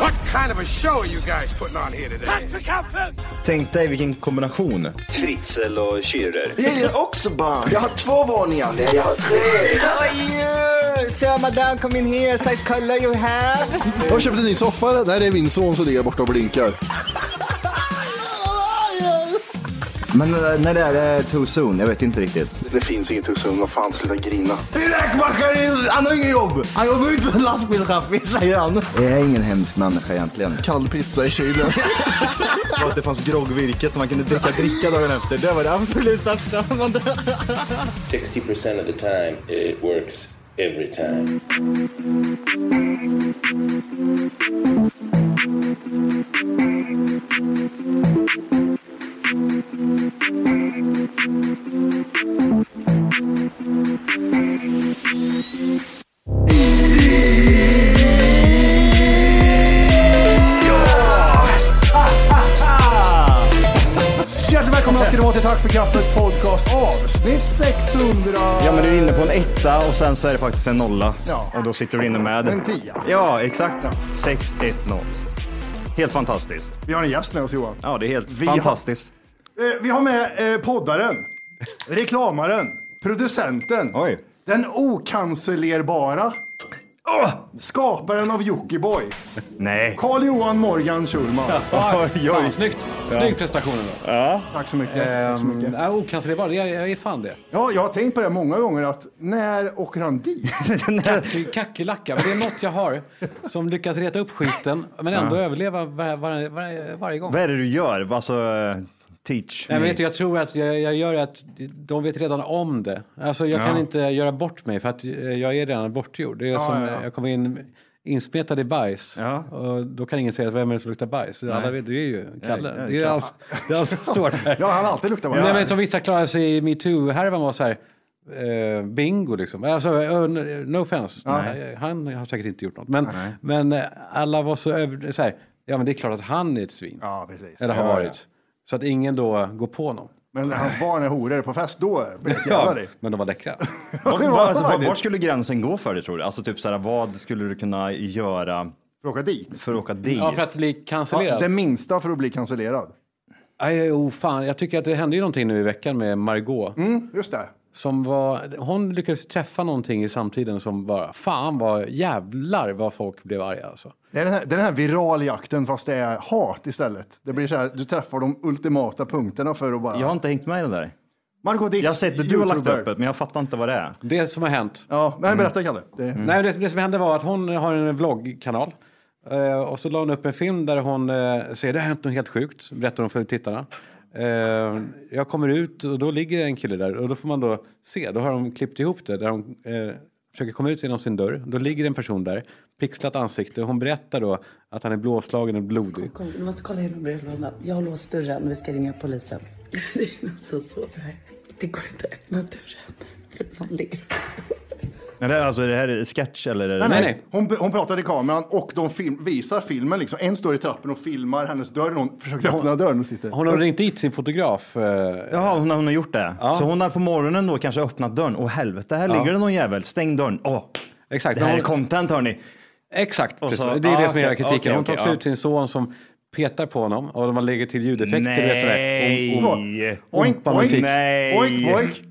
What kind of a show are you guys putting on here today? Tänk dig vilken kombination. Fritzel och Schürrer. Jag gillar också barn. Jag har två våningar. Nej, jag har tre. How are you? Sir, madame, come in here. Size color you have. Jag har köpt en ny soffa. Nej, det är min son som ligger borta och blinkar. Men eh, när det är eh, too soon? Jag vet inte riktigt. Det finns inget hus som vad fan, sluta grina. Min räkmackare, han har inget jobb. Han jobbar ju inte som lastbilschaffis, säger han. Jag är ingen hemsk människa egentligen. Kall pizza i kylen. Och att det fanns groggvirket som man kunde dricka dricka dagen efter. Det var det absolut största. 60% of the time, it works every time. Hjärtligt välkomna ska ni vara till Tack för kaffet podcast avsnitt 600. Ja men du är inne på en etta och sen så är det faktiskt en nolla. Ja. Och då sitter du inne med. En tia. Ja exakt. 6-1-0. Helt fantastiskt. Vi har en gäst med oss Johan. Ja det är helt Vi har- fantastiskt. Eh, Vi har med eh, poddaren, reklamaren, producenten, Oj. den okancellerbara, skaparen av Jockiboi, Nej. Carl Johan Morgan Schulman. Oj, oj. Snyggt! Snygg prestation ändå. Tack så mycket. Tack så Ehm. mycket. Ja, Okancellerbar, jag, jag är fan det. Ja, jag har tänkt på det många gånger att när åker han dit? Kack- Kackerlacka, men det är något jag har som lyckas reta upp skiten men ändå överleva var, var, var, varje gång. Vad är det du gör? Alltså, eh, teach Nej, men me. vet du, jag tror att jag, jag gör att de vet redan om det. Alltså jag kan inte göra bort mig för att eh, jag är redan bortgjord. Det är som eh, ja, ja. jag kommer in inspetad i bajs. Ja. Och då kan ingen säga vem är det som luktar bajs. Alla vet, det är ju Kalle. Ja, ja, det är Kalle. alls, det är alls står där. Ja, han har alltid luktat Nej, men bajs. som vissa klarar sig i metoo-härvan var så här, eh, bingo liksom. Alltså, eh, no offense, Nej, han har säkert inte gjort något. Men, men eh, alla var så över, så här, ja men det är klart att han är ett svin. Ja, precis. Eller har varit. Så att ingen då går på någon. Men när hans barn är horor på fest, då blir det Ja, jävla dig. men de var läckra. Vart, det var var, alltså, var, faktiskt. vart skulle gränsen gå för dig tror du? Alltså typ såhär, vad skulle du kunna göra För att åka dit. för att åka dit? Ja, för att bli cancellerad. Ja, det minsta för att bli cancellerad. Aj, oh, fan. Jag tycker att det hände ju någonting nu i veckan med Margot. Mm, just det. Som var, hon lyckades träffa någonting i samtiden som bara, fan vad jävlar vad folk blev arga alltså. Det är den här, det är den här viraljakten fast det är hat istället. Det blir så här, du träffar de ultimata punkterna för att bara... Jag har inte hängt med i den där. Margot Dietz, Jag har sett det du har lagt youtuber. upp det, men jag fattar inte vad det är. Det som har hänt. Ja, men berätta Kalle. Det, Mm. Nej, det, det som hände var att hon har en vloggkanal. Eh, och så la hon upp en film där hon eh, säger det har hänt något helt sjukt. Berättar hon för tittarna. Eh, jag kommer ut och då ligger det en kille där och då får man då se. Då har de klippt ihop det där de eh, försöker komma ut genom sin dörr. Då ligger en person där, pixlat ansikte. Hon berättar då att han är blåslagen och blodig. Kolla, du måste kolla genom brevlådan. Jag har låst dörren. Vi ska ringa polisen. Det är någon som sover här. Det går inte att öppna dörren. För någon ligger Men det här, alltså, det här är sketch eller? är det- Nej, nej. Hon, hon pratar i kameran och de film, visar filmen. Liksom. En står i trappen och filmar hennes dörr. och Hon försökte öppna dörren och sitter. Hon har ringt dit sin fotograf. eh, Jaha, hon har, hon har gjort det. Ja. Så hon har på morgonen då kanske öppnat dörren. Åh helvete, här Ja. ligger det någon jävel. Stäng dörren. Åh, Exakt. det här Hon- är content hörni. Exakt, Och precis. så- det är det ah, som är hela okej, kritiken. okej, hon tar okej, också ja. ut sin son som petar på honom och man lägger till ljudeffekter. Nej! Oink, Ompa musik. Nej! Oink, oink.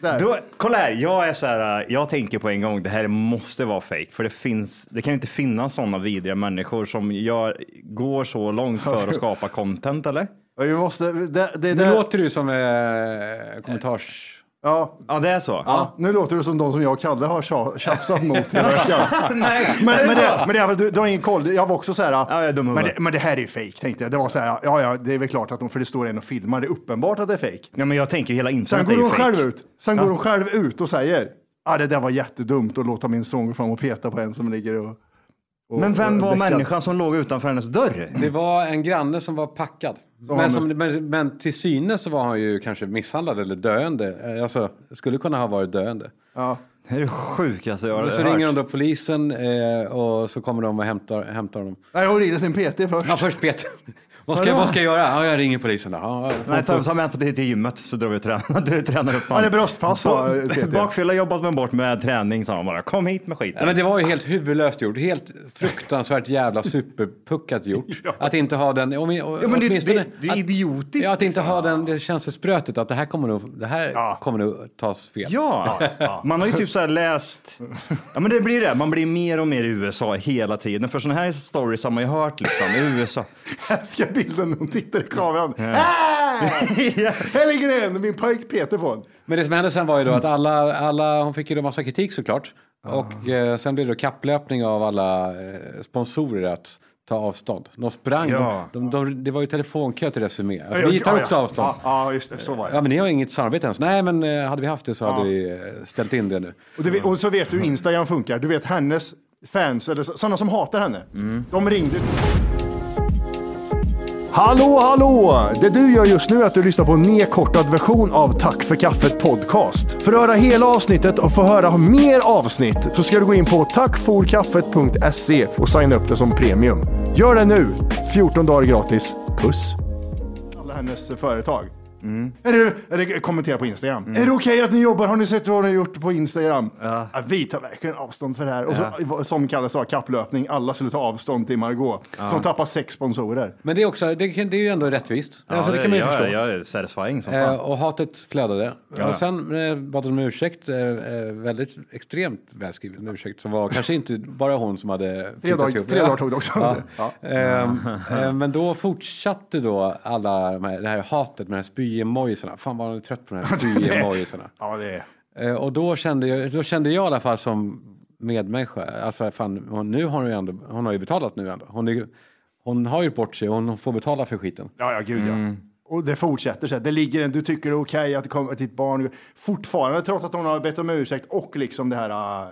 Där. Då, kolla här, jag är så här, äh, jag tänker på en gång, det här måste vara fake för det finns, det kan inte finnas sådana vidriga människor som jag går så långt för att skapa content eller? Ja, Vi måste, det, det, Nu det, låter du som eh, kommentars... ja. Ja, det är så. Ja, nu låter det som de som jag och Kalle har tja- tjafsat mot hela veckan. Nej, men, är det men, så? det, men det, är väl- du, du har ingen koll. Jag var också så här, dum men, huvud. det, men det här är ju fejk tänkte jag. Det var så här, ja, ja, det är väl klart att de, för det står en och filmar. Det är uppenbart att det är fejk. Ja, men jag tänker ju hela Sen internet går är ju hon fake. själv ut. Sen Ja. går hon själv ut och säger, ah, det där var jättedumt att låta min son gå fram och peta på en som ligger och... och Men vem och var däckar." människan som låg utanför hennes dörr? Det var en granne som var packad. han- Men, som, men, men till synes så var han ju kanske misshandlad eller döende. Eh, Alltså, skulle kunna ha varit döende. Ja. Det är det sjukaste jag har Men så hört. ringer de då polisen eh, och så kommer de och hämtar, hämtar honom. Nej, hon rider sin PT först. Ja, först Peter. vad, ska, Vadå? vad ska jag göra? Ja, jag ringer polisen då. Ja, Nej, ta, ta med på till, till gymmet så drar vi och tränar, du tränar upp Ja, det är bröstpass, sa TT. Bakfylla jobbat med bort med träning sa han bara. Kom hit med skiten. Ja, men det var ju helt huvudlöst gjort. Helt fruktansvärt jävla superpuckat gjort. Att inte ha den... Om, om, Ja, men det, det, åtminstone- det, är att- idiotiskt. liksom. Ja, att inte ha den det känselsprötet att det här kommer nog, det här kommer nog tas fel. Ja, man har ju typ så här läst. Ja, men det blir det. Man blir mer och mer i USA hela tiden. För sådana här stories har man ju hört liksom i USA. Jag älskar bilden när hon tittar i kameran. Ah! Här ligger det en, min pojk Peter på en. Men det som hände sen var ju då att alla, alla hon fick ju då massa kritik såklart. Och eh, sen blev det då kapplöpning av alla eh, sponsorer att ta avstånd. De sprang, Ja. de, de, de, det var ju telefonkö till Resumé. Ja, Alltså, ja, vi tar ja, också ja. avstånd. Ja, ja, just det, så var det. Ja, men ni har ju inget samarbete ens. Nej, men eh, hade vi haft det så Ja. hade vi eh, ställt in det nu. Och, du, vet- och så vet du hur Instagram funkar. Du vet hennes fans, eller så- sådana som hatar henne. De ringde. Hallå, hallå! Det du gör just nu är att du lyssnar på en nedkortad version av Tack för kaffet podcast. För att höra hela avsnittet och få höra mer avsnitt så ska du gå in på tackforkaffet.se och signa upp det som premium. Gör det nu! 14 dagar gratis. Puss! Alla hennes företag. Är det, är det, kommentera på Instagram. Mm. Är det okej att ni jobbar? Har ni sett vad ni har gjort på Instagram? Ja. vi tar verkligen avstånd för det här. Och så, som Kalle sa, kapplöpning. Alla skulle ta avstånd till Margot Ja. som tappar sex sponsorer. Men det är, också, det, kan- det är ju ändå rättvist. alltså, det kan man ju jag, förstå. Jag är satisfying som Eh, fan. och hatet flödade. Ja. Och sen eh, bad de om ursäkt, eh, eh, väldigt extremt välskriven ursäkt som var kanske inte bara hon som hade... flyttat dagar- ihop. tre dagar tog det också. Ja. Ja. Ehm, eh, men då fortsatte då alla de här, det här hatet med de här spy-emojisarna. Fan vad jag är trött på de här spy-emojisarna. Ja, det är... Eh, och då kände, jag, då kände jag i alla fall som medmänniska, alltså fan, hon, nu har hon ju ändå, hon har ju betalat nu ändå. Hon, är, ju- hon har ju gjort bort sig, hon får betala för skiten. Ja, ja, gud Mm. ja. Och det fortsätter så här. Det ligger en, du tycker det är okej att, det kommer- att ditt barn fortfarande, trots att hon har bett om ursäkt och liksom det här äh,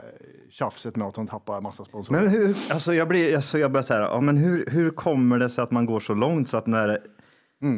tjafset med att hon tappar massa sponsorer. Men hur, alltså jag blir, alltså jag börjar så här, ja, men hur, hur kommer det sig att man går så långt så att när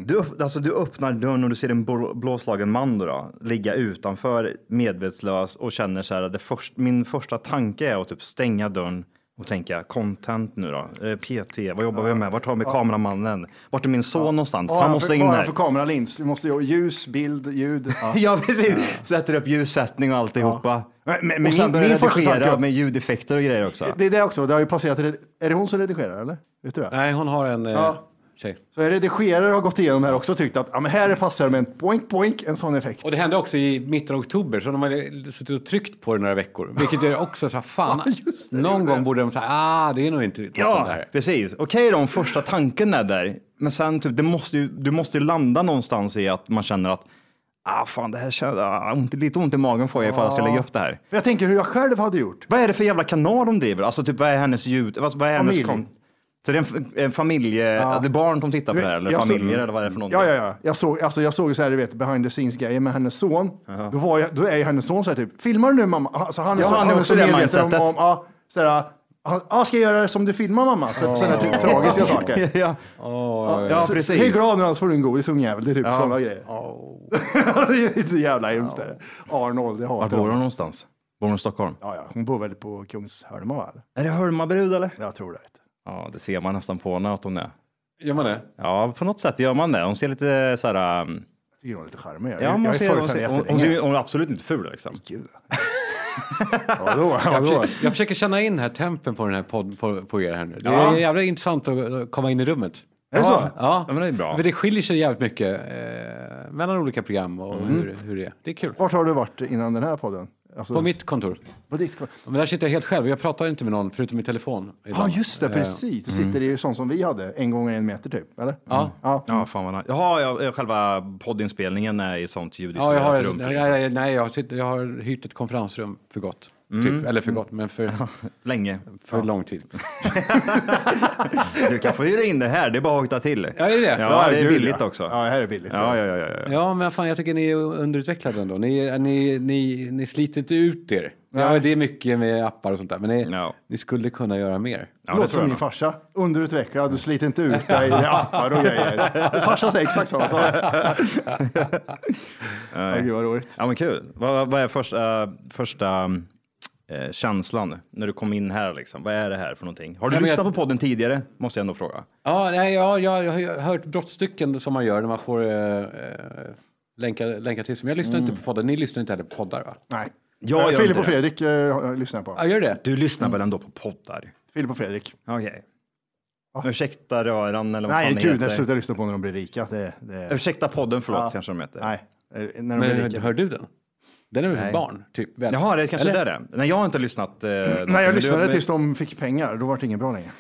du, öpp- alltså du öppnar dörren och du ser en blå- blåslagen man då, då, ligga utanför medvetslös och känner så här, att det först, min första tanke är att typ stänga dörren och tänka content nu då, eh, PT, vad jobbar vi med, vart har vi kameramannen, vart är min son någonstans, Bara han måste för, in bara här. för kameralins. Vi måste ju ljus, bild, ljud. Ja precis, sätter upp ljussättning och alltihopa. Men- men- men och sen min- börjar min första redigera tanke- med ljudeffekter och grejer också. Det är det också. Det har ju passerat. red- Är det hon som redigerar eller? Vet du det? Nej, hon har en eh, Ja. tjej. Så en redigerare har gått igenom här också och tyckt att ja, men här passar det med en poink, poink, en sån effekt. Och det hände också i mitten av oktober, så de hade suttit och tryckt på det några veckor. Vilket gör också så här, fan, någon gång borde de säga, ah, det är nog inte toppen det Ja, här. precis. Okej då om första tanken är där. Men sen typ, det måste ju, du måste ju landa någonstans i att man känner att ah, fan, det här känns, ah, ont, lite ont i magen får jag ifall jag ska Ja. lägga upp det här. För jag tänker hur jag själv hade gjort. Vad är det för jävla kanal de driver? Alltså typ vad är hennes ljud? Vad, vad är hennes Familj. kon- Så det är en, f- en familje, ja. det är barn som tittar på det här, eller Jag såg- familjer, eller vad är det för någonting? Ja, ja, ja. Jag såg, alltså, jag såg ju så här, du vet, behind the scenes grejer med hennes son. Då, var jag, då är ju hennes son så här typ, filmar du nu mamma? Alltså, han är Ja, så, han är också så det medveten mindsetet. Om, om, ja, så här, han, ja, ska jag göra det som du filmar mamma? Så, Sådana typ tragiska saker. ja. Ja, ja, så- precis. Hej glad nu annars får du en godis ungjävel. Det är typ Ja. sådana grejer. det är inte jävla hemskt. är det. Arnold, det Var hatar bor hon hon. någonstans? Bor hon i Stockholm? Ja, ja. Hon bor väl på Kungsholmen va? eller? Är det Hurmabrud eller? Jag tror det. Ja, det ser man nästan på henne att hon är. Gör man det? Ja, på något sätt gör man det. Hon ser lite så här... Um... Jag tycker hon är lite charmig. Jag- Ja, jag man är ser, förut hon, henne ser, hon, hon, jättelänge. ser, ju- hon är absolut inte ful liksom. Gud. Vadå? Jag, Vadå? försöker, jag försöker känna in den här tempen på den här podd, på, på er här nu. Det är Ja. jävla intressant att att komma in i rummet. Är det så? Ja. men det är bra. För det skiljer sig jävligt mycket eh, mellan olika program och hur, hur det är. Det är kul. Vart har du varit innan den här podden? Alltså, På mitt kontor. På ditt kontor? Men där sitter jag helt själv. Jag pratar inte med någon förutom i telefon. Ja, ah, just det, Eh, precis. Du mm. sitter i sån som vi hade, en gånger en meter typ, eller? Ja. Ja. Ja, fan vad nice. Jaha, jag, jag, själva poddinspelningen är i sånt Ja, jag ljudisolerat har, rum. nej, nej, nej, jag, sitter, jag har hyrt ett konferensrum för gott. Mm. Typ. Eller för gott, men för, Länge. för lång tid. Du kan få hyra in det här, det är bara att hojta till. Ja, är det? Ja, det är Gud, billigt ja. också. Ja, här är billigt. Ja, ja, ja, ja, ja. Ja, men fan, jag tycker ni är underutvecklade ändå. Ni, ni, ni, ni sliter inte ut er. Ja, det är mycket med appar och sånt där, men ni, ni skulle kunna göra mer. Låter som min farsa. Underutvecklad, du sliter inte ut dig i appar och grejer. Min Farsa säger exakt samma sak. Nej. gud vad roligt. Ja, men kul. Vad, vad är första, första eh, känslan när du kom in här liksom? Vad är det här för någonting? Har du Ja, men lyssnat jag- på podden tidigare? Måste jag ändå fråga. Ja, nej, ja, jag, jag har ju hört brottstycken som man gör när man får eh, eh, länka, länka till sig. Men jag lyssnar Mm. inte på poddar. Ni lyssnar inte heller på poddar, va? Nej. Jag Eh, gör Filip inte och det. Fredrik eh, lyssnar jag på. Ja, gör det? Du lyssnar väl ändå på poddar? Filip och Fredrik. Okej. Ursäkta röran eller vad Nej, fan det gud, heter. jag slutar lyssna på när de blir rika. Det, det... Ursäkta podden, förlåt, Ja. kanske de heter. Nej, eh, när de Men blir hör, rika. hör du den? Den är väl för Nej. barn, typ? väl? Jaha, det är kanske Eller? det är det. Nej, jag har inte lyssnat. Eh, någonting, Nej, men jag du- lyssnade men- tills de fick pengar. Då var det inget bra längre.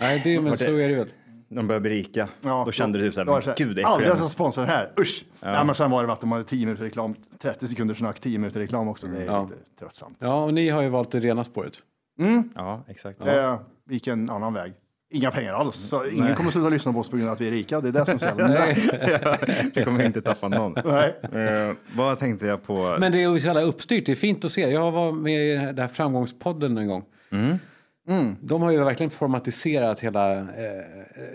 Nej, det, men Vart så är- är det väl. De börjar bli rika. då kände du typ så Det var här, så här, gud det är Aldrig äckligt. ens en sponsor här, usch! Nej, men sen var det att de hade 10 minuter reklam, 30 sekunders snack, 10 minuter reklam också. Det är Ja. lite tröttsamt. Ja, och ni har ju valt det rena spåret. Mm. Ja, exakt. Eh, vi gick en annan väg. Inga pengar alls, så ingen Nej. kommer sluta lyssna på oss på grund av att vi är rika. Det är det som ställer det kommer inte tappa någon. Nej. Eh, vad tänkte jag på? Men det är ju så jävla uppstyrt. Det är fint att se. Jag var med i den här framgångspodden en gång. Mm. De har ju verkligen formatiserat hela... Eh,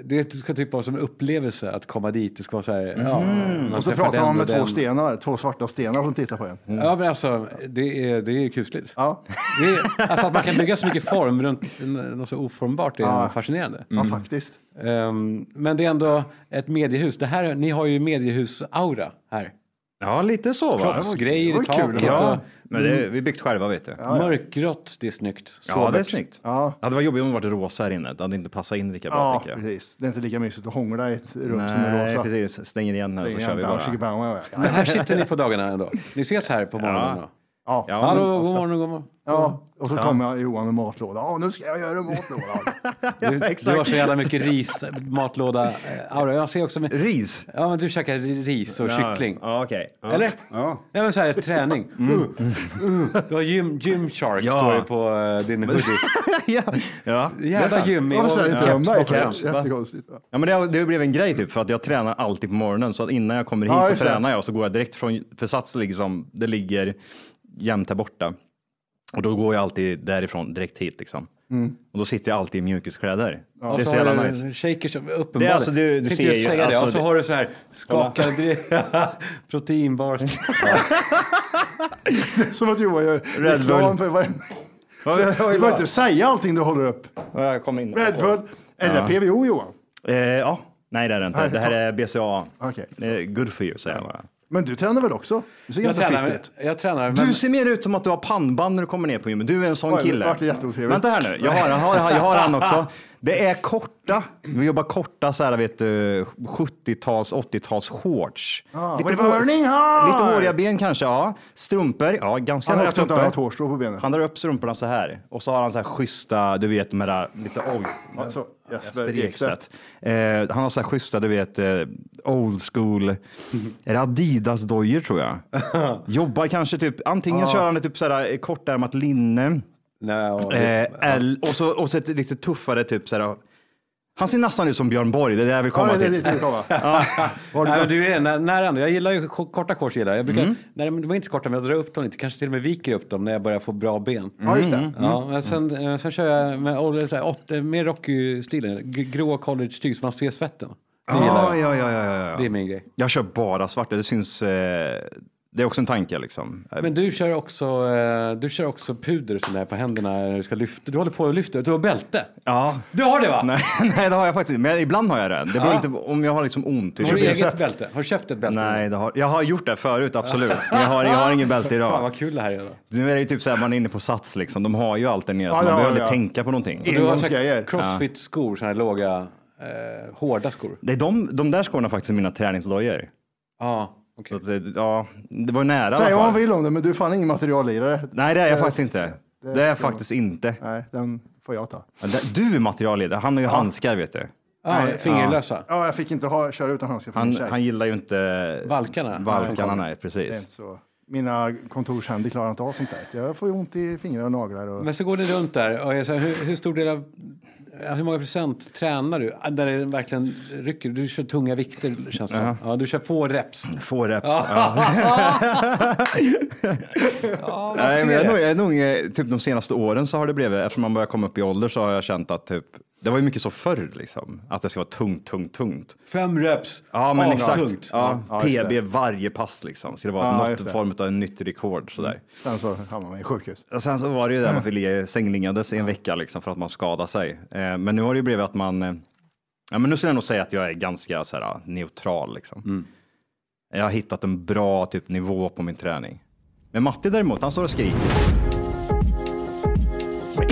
det ska typ vara som en upplevelse att komma dit. Det ska vara så här... ja, man Mm. Och så träffar pratar den man med och två den. stenar, två svarta stenar som tittar på en. Mm. Ja, men alltså, det är, det är kusligt. Ja. Det är, alltså att man kan bygga så mycket form runt n- något så oformbart är Ja. fascinerande. Ja, Mm. faktiskt. Ehm, men det är ändå ett mediehus. Det här, ni har ju mediehus-aura här. Ja, lite så va? Proffsgrejer i Det var kul, taket. ja. och- Men det, vi byggt själva vet du. Ja, ja. Mörkgrått, det är snyggt. Ja, det är Sobert. snyggt. Ja. Ja, det var jobbigt om det varit rosa här inne. Det hade inte passat in lika bra Ja, tycker jag. precis. Det är inte lika mysigt att hångla i ett rum som är Nej, rosa. precis. Stänger igen här så Stänger kör vi igen, bouncy, bara. bouncy, bouncy. Men här sitter ni på dagarna ändå. Ni ses här på morgonen då? Ja. Ja, Hallå, god morgon, god morgon. Ja, och så kommer jag Johan med matlåda. Ja, nu ska jag göra en matlåda. Du, exakt. du har så jävla mycket ris, matlåda, eh, aura. Jag ser också med, Ris? Ja, men du käkar ri- ris och Ja, kyckling. Ja, okej. Ja. Eller? Ja. Mm. Nej, men så här träning. Uh, Du har gym, Gymshark Ja. står det på eh, din hoodie. Ja. det är Jävla sant. gym i Varför säger inte de keps mig? bakom. keps, va? Jättekonstigt. va? Ja, men det, har- det blev en grej typ för att jag tränar alltid på morgonen så att innan jag kommer hit Ja, så just det. tränar jag och så går jag direkt från, för Sats liksom, det ligger jämt här borta. Och då går jag alltid därifrån direkt hit liksom. Mm. Och då sitter jag alltid i mjukiskläder. Och det är så så jävla har du nice. Shakers, uppenbarligen. Det är alltså, du- du Tänkte ser just ju, säga det. alltså, Och så det- har du så här skakade dry- proteinbar. Som att Johan gör Red reklam för varenda... Du behöver inte säga allting du håller upp. Ja, jag kom in. typ Red Bull eller Ja. PVO Johan. Eh, ja. Nej det är det inte. Nej, Det här är BCA. Okej. Eh, Good for you säger jag bara. Men du tränar väl också? Du ser Jag ganska tränar, fit med- ut. jag tränar men... Du ser mer ut som att du har pannband när du kommer ner på gymmet. Du är en sån Oj, det kille. vart jätteotrevligt. Vänta här nu, jag har, jag, har, jag har han också. Det är korta, vi jobbar korta så här, vet du, 70-tals, 80-tals shorts. Ah, Lite var det hår- burning hard? Lite håriga ben kanske, ja. Strumpor, ja ganska Han har högt inte han har ett uppe. hårstrå på benen. Han drar upp strumporna så här och så har han så här schyssta, du vet de här lite oj. Så, Jesper Jesper Ekstedt. Ekstedt. Eh, han har så här schyssta, du vet, eh, old school, är det Adidas-dojor tror jag? Jobbar kanske typ, antingen kör han ett typ så här kortärmat linne, Nej, och... eh, el- och, så, och så ett lite tuffare typ så här Han ser nästan ut som Björn Borg, det är det jag vill komma Ja, det är till. dit jag vill komma. Ja. Nej, men du är nä- nära ändå. Jag gillar ju ko- korta kors. Gillar. jag. Jag brukar, nej, men de är inte så korta, men jag drar upp dem lite. Kanske till och med viker upp dem när jag börjar få bra ben. Ja, just det. Ja, Mm. men sen, eh, sen kör jag med oh, så här, åt, eh, mer Rocky-stilen. G- Grå college-tyg så man ser svetten. Det gillar Ja, jag. ja, ja, ja, ja. Det är min grej. Jag kör bara svart, det syns. Eh, det är också en tanke liksom. Men du kör också, eh, du kör också puder och sånt där på händerna när du ska lyfta. Du håller på att lyfta. Du har bälte. Ja. Du har det va? Nej, nej, det har jag faktiskt inte. Men ibland har jag det. Det beror Ja. lite på om jag har liksom ont. Har du Jag eget köper- bälte? Har du köpt ett bälte? Nej, det har, jag har gjort det förut, absolut. Men jag har, jag har ingen bälte idag. Fan vad kul det här är. Då. Nu är det ju typ så här, man är inne på Sats liksom. De har ju allt där nere, Ja, så man ja, behöver ja. inte tänka på någonting. Och du har sagt crossfit-skor, såna här låga, eh, hårda skor. Det är de, de där skorna faktiskt är mina träningsdojor. Ja, okej. Det, ja, det var ju nära i Säg vad alla man fall. vill om det, men du är fan ingen materiallirare. Nej, det är jag Eh, faktiskt inte. det Det är jag ska- faktiskt inte. Nej, den får jag ta. Ja, där- Du är materialledare. Han har ju handskar, vet du. Nej, Ja. ja, jag fick inte ha, köra utan handskar för Han, min tjej. han gillar ju inte... Valkarna. Valkarna, Som nej, Det är precis. inte så. Mina kontorshänder klarar inte av sånt där. Jag får ju ont i fingrar och naglar. Och... Men så går ni runt där och jag säger, hur, hur stor del av, ja, hur många procent tränar du? Ah, Där det verkligen rycker, du kör tunga vikter känns det som. Ja. Ja, du kör få reps. Få reps, ja man Nej, men jag ser är nog, det. jag är nog, eh, typ de senaste åren så har det blivit, eftersom man börjar komma upp i ålder så har jag känt att typ, det var ju mycket så förr liksom, att det ska vara tungt, tungt, tungt. Fem reps, Ja, men Ja, exakt. tungt. Ja, Ja, just PB varje pass liksom, så det Mm. var Ja, just något det. form av en nytt rekord sådär. Sen så hamnar man i sjukhus. Och sen så var det ju där man fick ligga sängliggandes i en vecka liksom för att man skadade sig. Eh, men nu har det ju blivit att man, eh, ja men nu skulle jag nog säga att jag är ganska så här, neutral liksom. Mm. Jag har hittat en bra typ nivå på min träning. Men Matti däremot, han står och skriker. Men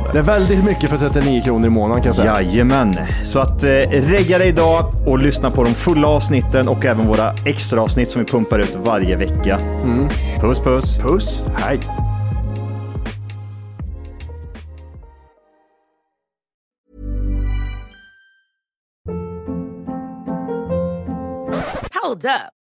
det. Det är väldigt mycket för 39 kronor i månaden kan jag säga. Jajamän, så att eh, regga dig idag och lyssna på de fulla avsnitten och även våra extra avsnitt som vi pumpar ut varje vecka. Mm. Puss puss! Puss, hej! Hold up.